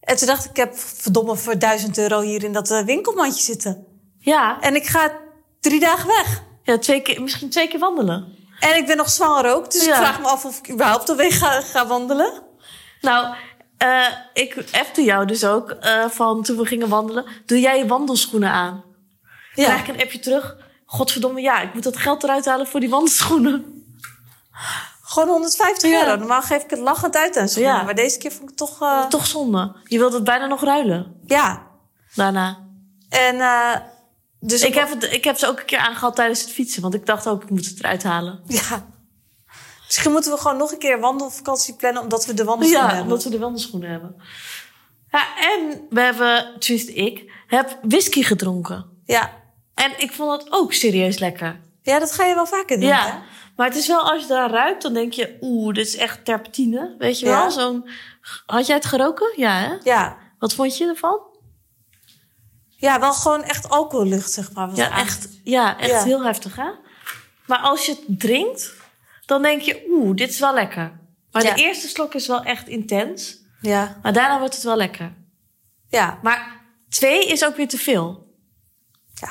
Speaker 2: En toen dacht ik, ik heb verdomme voor 1000 euro hier in dat eh, winkelmandje zitten.
Speaker 1: Ja.
Speaker 2: En ik ga drie dagen weg.
Speaker 1: Ja, twee keer, misschien twee keer wandelen.
Speaker 2: En ik ben nog zwanger ook, dus
Speaker 1: Ja.
Speaker 2: ik vraag me af of ik überhaupt op weg ga, ga wandelen.
Speaker 1: Nou, eh, ik appte jou dus ook eh, van toen we gingen wandelen. Doe jij je wandelschoenen aan?
Speaker 2: Ja.
Speaker 1: Krijg ik een appje terug? Godverdomme, ja, ik moet dat geld eruit halen voor die wandelschoenen.
Speaker 2: Gewoon 150
Speaker 1: Ja.
Speaker 2: euro. Normaal geef ik het lachend uit en zo.
Speaker 1: Ja.
Speaker 2: Maar deze keer vond ik het toch... eh,
Speaker 1: Toch zonde. Je wilt het bijna nog ruilen
Speaker 2: Ja.
Speaker 1: daarna.
Speaker 2: En eh, dus...
Speaker 1: ik, heb het, ik heb ze ook een keer aangehad tijdens het fietsen. Want ik dacht ook, ik moet het eruit halen.
Speaker 2: Ja. Misschien moeten we gewoon nog een keer een wandelvakantie plannen... omdat we de wandelschoenen
Speaker 1: Ja,
Speaker 2: hebben.
Speaker 1: omdat we de wandelschoenen hebben. Ja, en we hebben, tenminste ik, heb whisky gedronken.
Speaker 2: Ja.
Speaker 1: En ik vond dat ook serieus lekker.
Speaker 2: ja, dat ga je wel vaker doen,
Speaker 1: ja.
Speaker 2: hè?
Speaker 1: Maar het is wel, als je daar ruikt, dan denk je... Oeh, dit is echt terpentine. Weet je
Speaker 2: Ja.
Speaker 1: wel? Zo'n, had jij het geroken? Ja, hè?
Speaker 2: Ja.
Speaker 1: Wat vond je ervan?
Speaker 2: Ja, wel gewoon echt alcohollucht, zeg maar. was het
Speaker 1: Ja,
Speaker 2: eigenlijk.
Speaker 1: echt, ja, echt
Speaker 2: Ja.
Speaker 1: heel heftig, hè? Maar als je het drinkt, dan denk je... Oeh, dit is wel lekker. Maar
Speaker 2: Ja.
Speaker 1: de eerste slok is wel echt intens...
Speaker 2: Ja.
Speaker 1: Maar daarna wordt het wel lekker.
Speaker 2: Ja.
Speaker 1: Maar twee is ook weer te veel.
Speaker 2: Ja.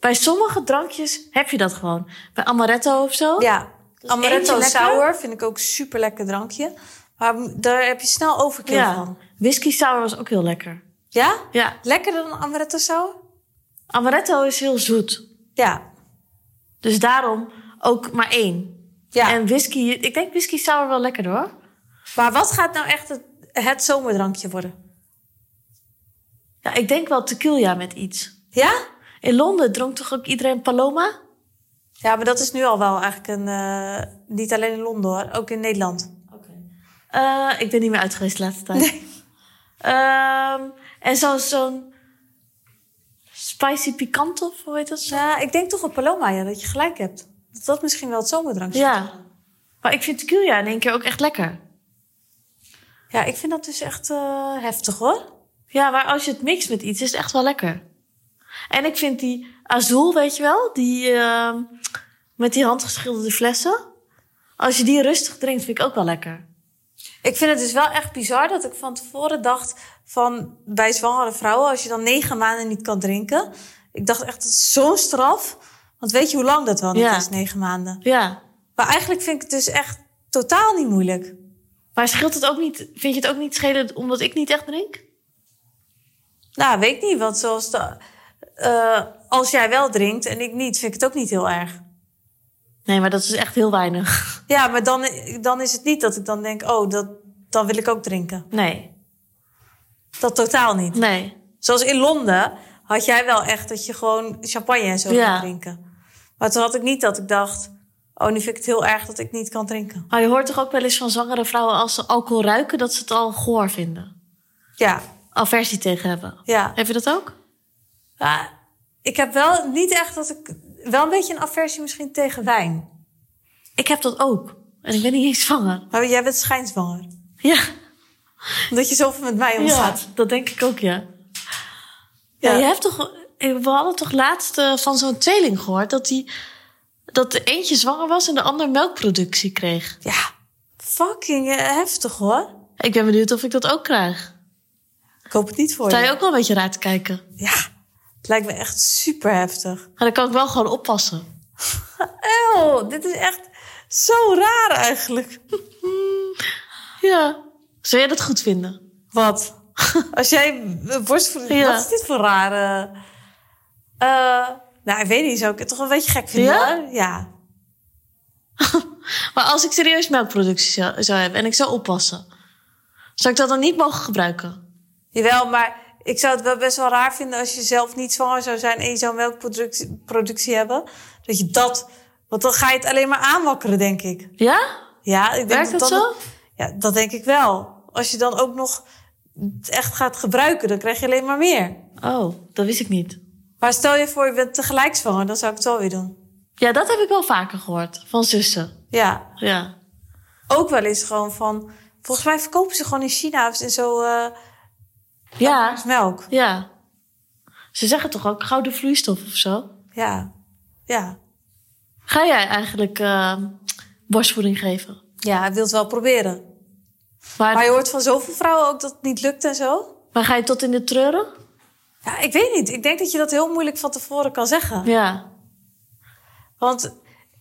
Speaker 1: Bij sommige drankjes heb je dat gewoon. Bij amaretto of zo.
Speaker 2: Ja,
Speaker 1: Oh, eentje
Speaker 2: amaretto
Speaker 1: lekker.
Speaker 2: sour vind ik ook super lekker drankje. Maar m- daar heb je snel overkill
Speaker 1: Ja.
Speaker 2: van.
Speaker 1: Whisky sour was ook heel lekker.
Speaker 2: Ja?
Speaker 1: Ja,
Speaker 2: Lekkerder dan amaretto sour?
Speaker 1: amaretto is heel zoet.
Speaker 2: Ja.
Speaker 1: Dus daarom ook maar één.
Speaker 2: ja.
Speaker 1: En whisky, ik denk whisky sour wel lekker hoor.
Speaker 2: Maar wat gaat nou echt het, het zomerdrankje worden?
Speaker 1: Ja, ik denk wel tequila met iets.
Speaker 2: Ja?
Speaker 1: In Londen dronk toch ook iedereen Paloma?
Speaker 2: Ja, maar dat is nu al wel eigenlijk een... eh, niet alleen in Londen hoor, ook in Nederland.
Speaker 1: Eh, ik ben niet meer uit geweest de laatste tijd. Ehm, en zo- zo'n spicy pikant of hoe heet dat zo?
Speaker 2: Ja, ik denk toch op Paloma, ja, dat je gelijk hebt. Dat dat misschien wel het zomerdrankje gaat
Speaker 1: Ja.
Speaker 2: worden.
Speaker 1: Maar ik vind tequila in één keer ook echt lekker.
Speaker 2: Ja, ik vind dat dus echt eh, heftig hoor.
Speaker 1: Ja, maar als je het mixt met iets, is het echt wel lekker. En ik vind die azul, weet je wel? Die ehm, met die handgeschilderde flessen. Als je die rustig drinkt, vind ik ook wel lekker.
Speaker 2: Ik vind het dus wel echt bizar dat ik van tevoren dacht van bij zwangere vrouwen, als je dan negen maanden niet kan drinken. Ik dacht echt, dat is zo'n straf. Want weet je hoe lang dat wel niet
Speaker 1: Ja.
Speaker 2: is, negen maanden.
Speaker 1: Ja.
Speaker 2: Maar eigenlijk vind ik het dus echt totaal niet moeilijk.
Speaker 1: Maar scheelt het ook niet, vind je het ook niet schelen omdat ik niet echt drink?
Speaker 2: Nou, weet ik niet, want zoals de, eh, als jij wel drinkt en ik niet, vind ik het ook niet heel erg.
Speaker 1: Nee, maar dat is echt heel weinig.
Speaker 2: Ja, maar dan, dan is het niet dat ik dan denk, oh, dat, dan wil ik ook drinken.
Speaker 1: Nee.
Speaker 2: Dat totaal niet.
Speaker 1: Nee.
Speaker 2: Zoals in Londen had jij wel echt dat je gewoon champagne en zo
Speaker 1: Ja.
Speaker 2: kan drinken. Maar toen had ik niet dat ik dacht... oh, nu vind ik het heel erg dat ik niet kan drinken.
Speaker 1: Maar je hoort toch ook wel eens van zwangere vrouwen als ze alcohol ruiken, dat ze het al goor vinden.
Speaker 2: Ja,
Speaker 1: Aversie tegen hebben.
Speaker 2: ja.
Speaker 1: Heb je dat ook?
Speaker 2: ja. Ik heb wel niet echt dat ik... wel een beetje een aversie misschien tegen wijn.
Speaker 1: Ik heb dat ook. En ik ben niet eens zwanger.
Speaker 2: Maar jij bent schijnzwanger.
Speaker 1: Ja.
Speaker 2: Omdat je zoveel met mij omgaat.
Speaker 1: Ja, dat denk ik ook, ja.
Speaker 2: Ja.
Speaker 1: ja. je hebt toch, eh, we hadden toch laatst eh, van zo'n tweeling gehoord dat, die, dat de eentje zwanger was en de ander melkproductie kreeg.
Speaker 2: Ja. fucking eh, heftig hoor.
Speaker 1: Ik ben benieuwd of ik dat ook krijg.
Speaker 2: Ik hoop het niet voor
Speaker 1: Sta je
Speaker 2: je.
Speaker 1: ook wel een beetje raar te kijken?
Speaker 2: Ja. Het lijkt me echt super heftig.
Speaker 1: Maar dan kan ik wel gewoon oppassen.
Speaker 2: Ew, dit is echt zo raar eigenlijk.
Speaker 1: Ja. Zou jij dat goed vinden?
Speaker 2: Wat? Als jij eh, borstvoeding...
Speaker 1: Ja.
Speaker 2: Wat is dit voor rare... Eh, nou, ik weet niet. Zou ik het toch een beetje gek vinden?
Speaker 1: Ja?
Speaker 2: hoor? Ja.
Speaker 1: Maar als ik serieus melkproductie zou, zou hebben en ik zou oppassen, zou ik dat dan niet mogen gebruiken?
Speaker 2: Jawel, maar ik zou het wel best wel raar vinden als je zelf niet zwanger zou zijn en je zou melkproductie productie hebben. Dat je dat, want dan ga je het alleen maar aanwakkeren, denk ik.
Speaker 1: Ja?
Speaker 2: Ja, ik denk
Speaker 1: Werkt dat
Speaker 2: dan-
Speaker 1: zo?
Speaker 2: Ja, dat denk ik wel. Als je dan ook nog het echt gaat gebruiken, dan krijg je alleen maar meer.
Speaker 1: Oh, dat wist ik niet.
Speaker 2: Maar stel je voor, je bent tegelijk zwanger, dan zou ik het wel weer doen.
Speaker 1: Ja, dat heb ik wel vaker gehoord van zussen.
Speaker 2: Ja,
Speaker 1: Ja.
Speaker 2: ook wel eens gewoon van. Volgens mij verkopen ze gewoon in China of in zo eh
Speaker 1: Ja.
Speaker 2: melk.
Speaker 1: Ja. Ze zeggen toch ook gouden vloeistof of zo?
Speaker 2: Ja, ja.
Speaker 1: Ga jij eigenlijk eh, borstvoeding geven?
Speaker 2: Ja, hij wil het wel proberen.
Speaker 1: Maar,
Speaker 2: Maar
Speaker 1: maar,
Speaker 2: je hoort van zoveel vrouwen ook dat het niet lukt en zo.
Speaker 1: ga je tot in de treuren?
Speaker 2: Ja, ik weet niet. Ik denk dat je dat heel moeilijk van tevoren kan zeggen.
Speaker 1: Ja.
Speaker 2: Want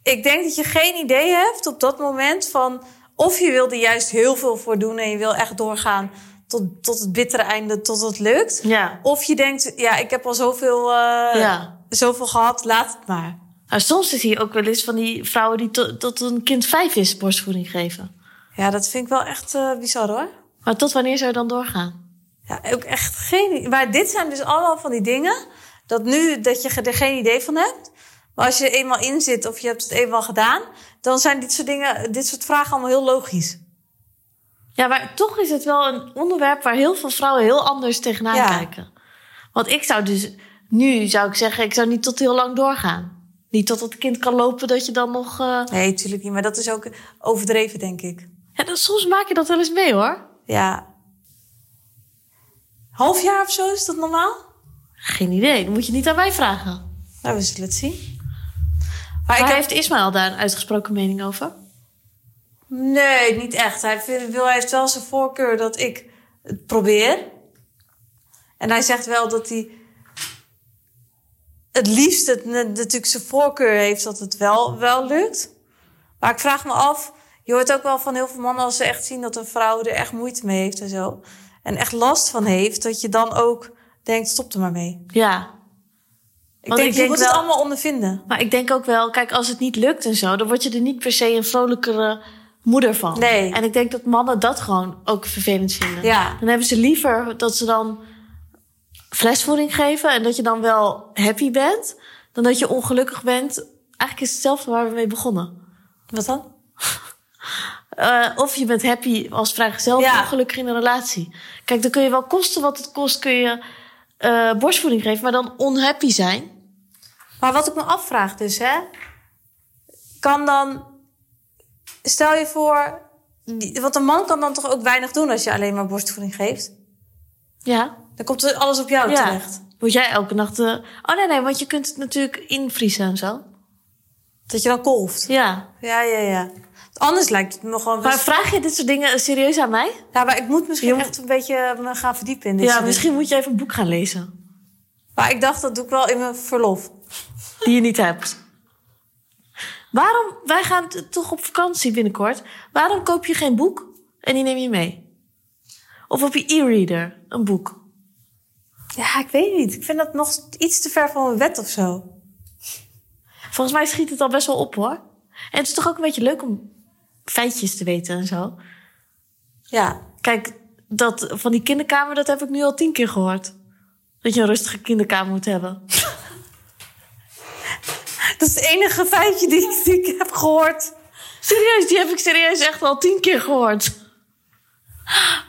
Speaker 2: ik denk dat je geen idee hebt op dat moment van... of je wil er juist heel veel voor doen en je wil echt doorgaan tot, tot het bittere einde, tot het lukt.
Speaker 1: Ja.
Speaker 2: Of je denkt, ja, ik heb al zoveel, eh,
Speaker 1: Ja.
Speaker 2: zoveel gehad, laat het maar.
Speaker 1: Nou, soms zie je ook wel eens van die vrouwen die to- tot een kind vijf is borstvoeding geven.
Speaker 2: Ja, dat vind ik wel echt eh, bizar hoor.
Speaker 1: Maar tot wanneer zou je dan doorgaan?
Speaker 2: Ja, ook echt geen idee. Maar dit zijn dus allemaal van die dingen. Dat nu dat je er geen idee van hebt. Maar als je er eenmaal in zit of je hebt het eenmaal gedaan. Dan zijn dit soort dingen, dit soort vragen allemaal heel logisch.
Speaker 1: Ja, maar toch is het wel een onderwerp waar heel veel vrouwen heel anders tegenaan
Speaker 2: Ja.
Speaker 1: kijken. Want ik zou dus, nu zou ik zeggen, ik zou niet tot heel lang doorgaan. Niet tot het kind kan lopen dat je dan nog... eh,
Speaker 2: Nee, tuurlijk niet. Maar dat is ook overdreven, denk ik.
Speaker 1: Ja, dan, soms maak je dat wel eens mee hoor.
Speaker 2: Ja. Half jaar of zo, is dat normaal?
Speaker 1: Geen idee, dat moet je niet aan mij vragen.
Speaker 2: Nou, we zullen het zien. Maar
Speaker 1: Maar
Speaker 2: ik heb...
Speaker 1: heeft Ismaël daar een uitgesproken mening over?
Speaker 2: Nee, niet echt. Hij, vindt, wil, hij heeft wel zijn voorkeur dat ik het probeer. En hij zegt wel dat hij het liefst het, ne- natuurlijk zijn voorkeur heeft dat het wel, wel lukt. Maar ik vraag me af, je hoort ook wel van heel veel mannen als ze echt zien dat een vrouw er echt moeite mee heeft en zo. En echt last van heeft, dat je dan ook denkt, stop er maar mee.
Speaker 1: Ja,
Speaker 2: Ik
Speaker 1: Want
Speaker 2: denk,
Speaker 1: ik
Speaker 2: je
Speaker 1: denk
Speaker 2: moet
Speaker 1: wel-
Speaker 2: het allemaal ondervinden.
Speaker 1: Maar ik denk ook wel, kijk, als het niet lukt en zo, dan word je er niet per se een vrolijkere moeder van.
Speaker 2: Nee.
Speaker 1: En ik denk dat mannen dat gewoon ook vervelend vinden.
Speaker 2: Ja.
Speaker 1: Dan hebben ze liever dat ze dan flesvoeding geven en dat je dan wel happy bent, dan dat je ongelukkig bent. Eigenlijk is het hetzelfde waar we mee begonnen.
Speaker 2: Wat dan?
Speaker 1: Eh, of je bent happy als vrijgezel
Speaker 2: Ja.
Speaker 1: of ongelukkig in een relatie. Kijk, dan kun je wel kosten wat het kost, kun je eh, borstvoeding geven, maar dan onhappy zijn.
Speaker 2: Maar wat ik me afvraag dus, hè. Kan dan... Stel je voor... die- Want een man kan dan toch ook weinig doen als je alleen maar borstvoeding geeft?
Speaker 1: Ja.
Speaker 2: Dan komt er alles op jou
Speaker 1: Ja.
Speaker 2: terecht.
Speaker 1: Moet jij elke nacht... eh, Oh nee, nee, want je kunt het natuurlijk invriezen en zo.
Speaker 2: Dat je dan kolft.
Speaker 1: Ja.
Speaker 2: Ja, ja, ja. Anders lijkt het me gewoon...
Speaker 1: Maar
Speaker 2: Best...
Speaker 1: vraag je dit soort dingen serieus aan mij?
Speaker 2: Ja, maar ik moet misschien
Speaker 1: Je moet-
Speaker 2: echt een beetje me gaan verdiepen in dit
Speaker 1: Ja,
Speaker 2: soort
Speaker 1: misschien moet je even een boek gaan lezen.
Speaker 2: dingen. Maar ik dacht, dat doe ik wel in mijn verlof.
Speaker 1: Die je niet hebt. Waarom... Wij gaan t- toch op vakantie binnenkort. Waarom koop je geen boek en die neem je mee? Of op je e-reader een boek?
Speaker 2: Ja, ik weet niet. Ik vind dat nog iets te ver van mijn wet of zo.
Speaker 1: Volgens mij schiet het al best wel op, hoor. En het is toch ook een beetje leuk om feitjes te weten en zo.
Speaker 2: Ja.
Speaker 1: Kijk, dat van die kinderkamer, dat heb ik nu al tien keer gehoord. Dat je een rustige kinderkamer moet hebben.
Speaker 2: Dat is het enige feitje die, ik- die ik heb gehoord.
Speaker 1: Serieus, die heb ik serieus echt al tien keer gehoord.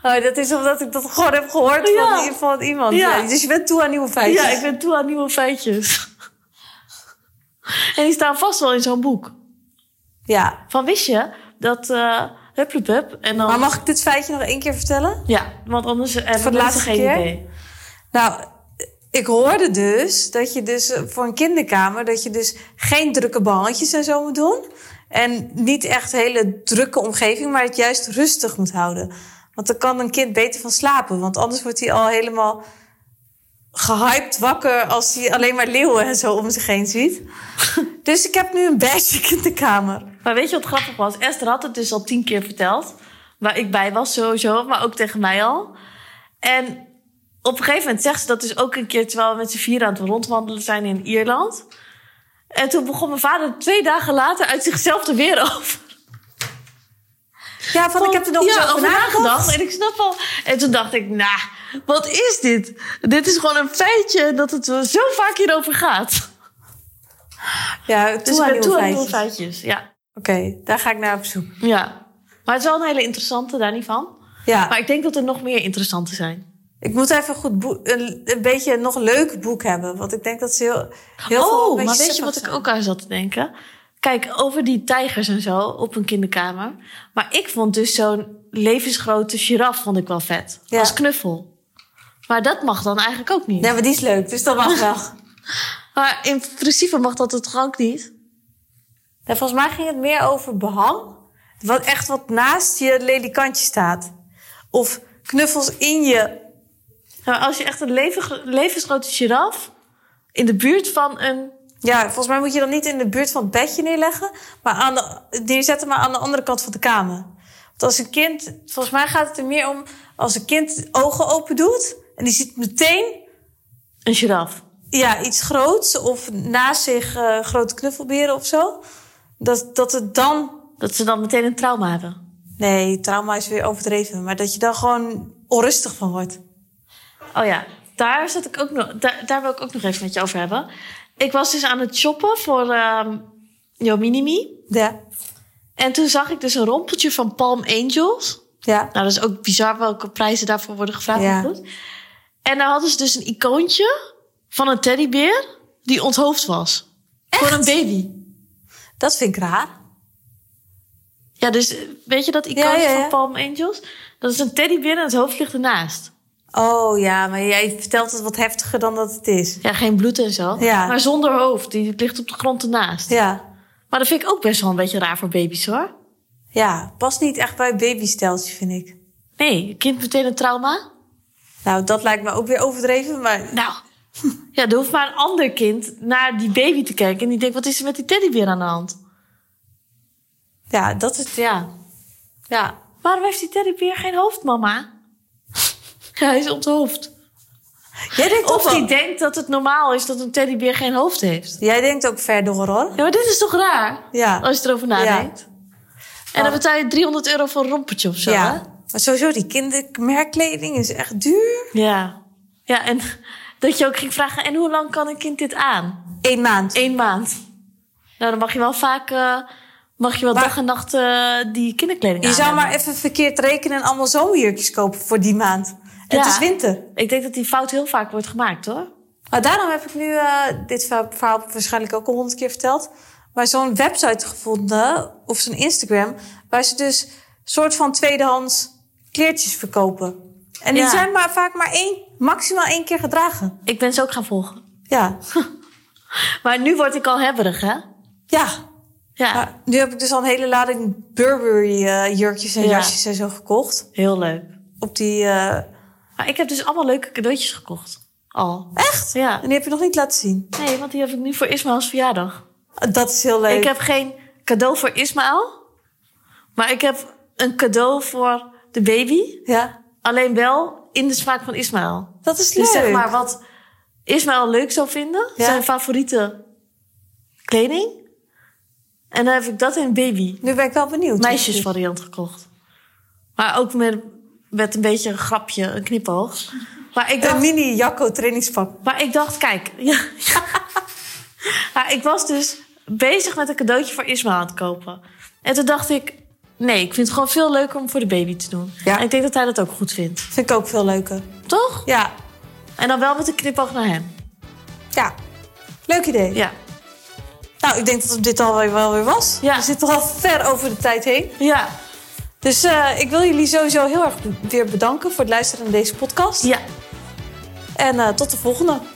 Speaker 2: Oh, dat is omdat ik dat gewoon heb gehoord
Speaker 1: Ja.
Speaker 2: van, i- van iemand.
Speaker 1: Ja.
Speaker 2: Ja, Dus je bent toe aan nieuwe feitjes.
Speaker 1: Ja, ik ben toe aan nieuwe feitjes. En die staan vast wel in zo'n boek.
Speaker 2: Ja.
Speaker 1: Van wist je dat... eh hup, hup, hup, En dan...
Speaker 2: Maar mag ik dit feitje nog één keer vertellen?
Speaker 1: Ja, want anders hebben
Speaker 2: Voor de
Speaker 1: mensen
Speaker 2: laatste
Speaker 1: geen
Speaker 2: keer?
Speaker 1: idee.
Speaker 2: Nou, ik hoorde dus dat je dus eh, voor een kinderkamer... dat je dus geen drukke balletjes en zo moet doen. En niet echt hele drukke omgeving, maar het juist rustig moet houden. Want dan kan een kind beter van slapen. Want anders wordt hij al helemaal gehyped wakker als hij alleen maar leeuwen en zo om zich heen ziet. dus ik heb nu een badge in de kamer.
Speaker 1: Maar weet je wat grappig was? Esther had het dus al tien keer verteld. Waar ik bij was sowieso, maar ook tegen mij al. En op een gegeven moment zegt ze dat dus ook een keer... terwijl we met z'n vier aan het rondwandelen zijn in Ierland. En toen begon mijn vader twee dagen later uit zichzelf er weer over.
Speaker 2: Ja, van ik heb er nog eens
Speaker 1: ja,
Speaker 2: over nagedacht.
Speaker 1: En ik snap al... En toen dacht ik, nou, wat is dit? Dit is gewoon een feitje dat het zo vaak hierover gaat.
Speaker 2: Ja,
Speaker 1: Dus
Speaker 2: toe
Speaker 1: ik
Speaker 2: aan
Speaker 1: ben toe aan nieuwe
Speaker 2: nieuwe feitjes.
Speaker 1: feitjes. Ja.
Speaker 2: Oké, daar ga ik naar op zoek.
Speaker 1: ja. Maar het is wel een hele interessante, daar niet van.
Speaker 2: Ja,
Speaker 1: Maar ik denk dat er nog meer interessante zijn.
Speaker 2: ik moet even een goed boek, een, een beetje een nog leuk boek hebben. Want ik denk dat ze heel, heel veel
Speaker 1: oh,
Speaker 2: een
Speaker 1: maar
Speaker 2: beetje
Speaker 1: weet je
Speaker 2: sappig
Speaker 1: wat ik
Speaker 2: zijn.
Speaker 1: ook aan zat te denken? Kijk, over die tijgers en zo op een kinderkamer. Maar ik vond dus zo'n levensgrote giraf vond ik wel vet.
Speaker 2: Ja.
Speaker 1: Als knuffel. Maar dat mag dan eigenlijk ook niet.
Speaker 2: Nee, maar die is leuk, dus dat mag wel.
Speaker 1: Maar in principe mag dat het ook niet.
Speaker 2: Ja, volgens mij ging het meer over behang. Wat echt wat naast je ledikantje staat. Of knuffels in je.
Speaker 1: Nou, als je echt een levig- levensgrote giraf in de buurt van een...
Speaker 2: Ja, volgens mij moet je dan niet in de buurt van het bedje neerleggen. Maar aan de, neerzetten, maar aan de andere kant van de kamer. Want als een kind... Volgens mij gaat het er meer om... Als een kind ogen open doet... En die ziet meteen
Speaker 1: Een giraf.
Speaker 2: ja, iets groots. Of naast zich eh, grote knuffelberen of zo. Dat, dat het dan...
Speaker 1: Dat ze dan meteen een trauma hebben.
Speaker 2: Nee, trauma is weer overdreven. Maar dat je dan gewoon onrustig van wordt.
Speaker 1: Oh ja, daar, zat ik ook nog, daar, daar wil ik ook nog even met je over hebben. Ik was dus aan het shoppen voor ehm Yominimi.
Speaker 2: Ja,
Speaker 1: En toen zag ik dus een rompeltje van Palm Angels.
Speaker 2: ja.
Speaker 1: Nou, dat is ook bizar welke prijzen daarvoor worden gevraagd.
Speaker 2: Ja.
Speaker 1: maar goed. En daar hadden ze dus een icoontje van een teddybeer die onthoofd was. Voor een baby.
Speaker 2: Dat vind ik raar.
Speaker 1: Ja, dus eh, weet je dat icoontje
Speaker 2: Ja, ja, ja.
Speaker 1: van Palm Angels? Dat is een teddybeer en het hoofd ligt ernaast.
Speaker 2: Oh ja, maar jij vertelt het wat heftiger dan dat het is.
Speaker 1: Ja, geen bloed en zo.
Speaker 2: Ja.
Speaker 1: Maar zonder hoofd. Die ligt op de grond ernaast.
Speaker 2: Ja,
Speaker 1: Maar dat vind ik ook best wel een beetje raar voor baby's hoor.
Speaker 2: ja. Past niet echt bij babysteltje, vind ik.
Speaker 1: Nee, een kind meteen een trauma.
Speaker 2: Nou, dat lijkt me ook weer overdreven, maar...
Speaker 1: Nou, ja, er hoeft maar een ander kind naar die baby te kijken. En die denkt, wat is er met die teddybeer aan de hand?
Speaker 2: Ja, dat is...
Speaker 1: Ja.
Speaker 2: Ja.
Speaker 1: Waarom heeft die teddybeer geen hoofd, mama? Ja, hij is onthoofd.
Speaker 2: Jij denkt, ook
Speaker 1: Of die
Speaker 2: wel...
Speaker 1: denkt dat het normaal is dat een teddybeer geen hoofd heeft.
Speaker 2: jij denkt ook ver door, hoor.
Speaker 1: Ja, maar dit is toch raar?
Speaker 2: Ja.
Speaker 1: Als je erover nadenkt. En dan
Speaker 2: Oh.
Speaker 1: betaal je 300 euro voor een rompertje of zo,
Speaker 2: ja.
Speaker 1: hè?
Speaker 2: Maar sowieso, die kindermerkkleding is echt duur.
Speaker 1: Ja. Ja, en dat je ook ging vragen... en hoe lang kan een kind dit aan?
Speaker 2: Eén maand.
Speaker 1: Eén maand. Nou, dan mag je wel vaak... eh, mag je wel
Speaker 2: Maar-
Speaker 1: dag en nacht eh, die kinderkleding
Speaker 2: Je
Speaker 1: aan
Speaker 2: zou maar even verkeerd rekenen en allemaal zomerjurkjes kopen voor die maand. En
Speaker 1: Ja.
Speaker 2: het is winter.
Speaker 1: Ik denk dat die fout heel vaak wordt gemaakt, hoor.
Speaker 2: Maar Ah, daarom heb ik nu eh, dit verhaal- verhaal waarschijnlijk ook al honderd keer verteld. Maar zo'n website gevonden, of zo'n Instagram, waar ze dus soort van tweedehands kleertjes verkopen. En die
Speaker 1: Ja.
Speaker 2: zijn maar vaak maar één, maximaal één keer gedragen.
Speaker 1: Ik ben ze ook gaan volgen.
Speaker 2: Ja,
Speaker 1: Maar nu word ik al hebberig, hè?
Speaker 2: ja.
Speaker 1: Ja,
Speaker 2: Maar nu heb ik dus al een hele lading Burberry eh, jurkjes en
Speaker 1: Ja.
Speaker 2: jasjes en zo gekocht.
Speaker 1: heel leuk.
Speaker 2: Op die, eh,
Speaker 1: Maar ik heb dus allemaal leuke cadeautjes gekocht. Al.
Speaker 2: echt?
Speaker 1: Ja.
Speaker 2: En die heb je nog niet laten zien. Ah,
Speaker 1: Nee, want die heb ik nu voor Ismaëls verjaardag.
Speaker 2: Dat is heel leuk.
Speaker 1: Ik heb geen cadeau voor Ismaël. Maar ik heb een cadeau voor de baby.
Speaker 2: Ja,
Speaker 1: Alleen wel in de smaak van Ismaël.
Speaker 2: dat is leuk.
Speaker 1: Dus zeg maar wat Ismaël leuk zou vinden.
Speaker 2: Ja.
Speaker 1: Zijn favoriete kleding. En dan heb ik dat in baby.
Speaker 2: Nu ben ik wel benieuwd.
Speaker 1: meisjesvariant gekocht. Maar ook met, met een beetje een grapje, een knipoog. Maar ik
Speaker 2: Een
Speaker 1: dacht,
Speaker 2: mini Jacco trainingspak.
Speaker 1: maar ik dacht kijk. Ja, Maar ik was dus bezig met een cadeautje voor Ismaël aan het kopen. En toen dacht ik, nee, ik vind het gewoon veel leuker om voor de baby te doen.
Speaker 2: Ja.
Speaker 1: En ik denk dat hij dat ook goed vindt.
Speaker 2: Vind ik ook veel leuker.
Speaker 1: Toch?
Speaker 2: Ja,
Speaker 1: En dan wel met een knipoog naar hem.
Speaker 2: ja. Leuk idee.
Speaker 1: Ja.
Speaker 2: Nou, ik denk dat het dit alweer wel weer was.
Speaker 1: Ja.
Speaker 2: We zitten al ver over de tijd heen.
Speaker 1: Ja.
Speaker 2: Dus eh, ik wil jullie sowieso heel erg be- weer bedanken voor het luisteren naar deze podcast.
Speaker 1: Ja.
Speaker 2: En eh, tot de volgende.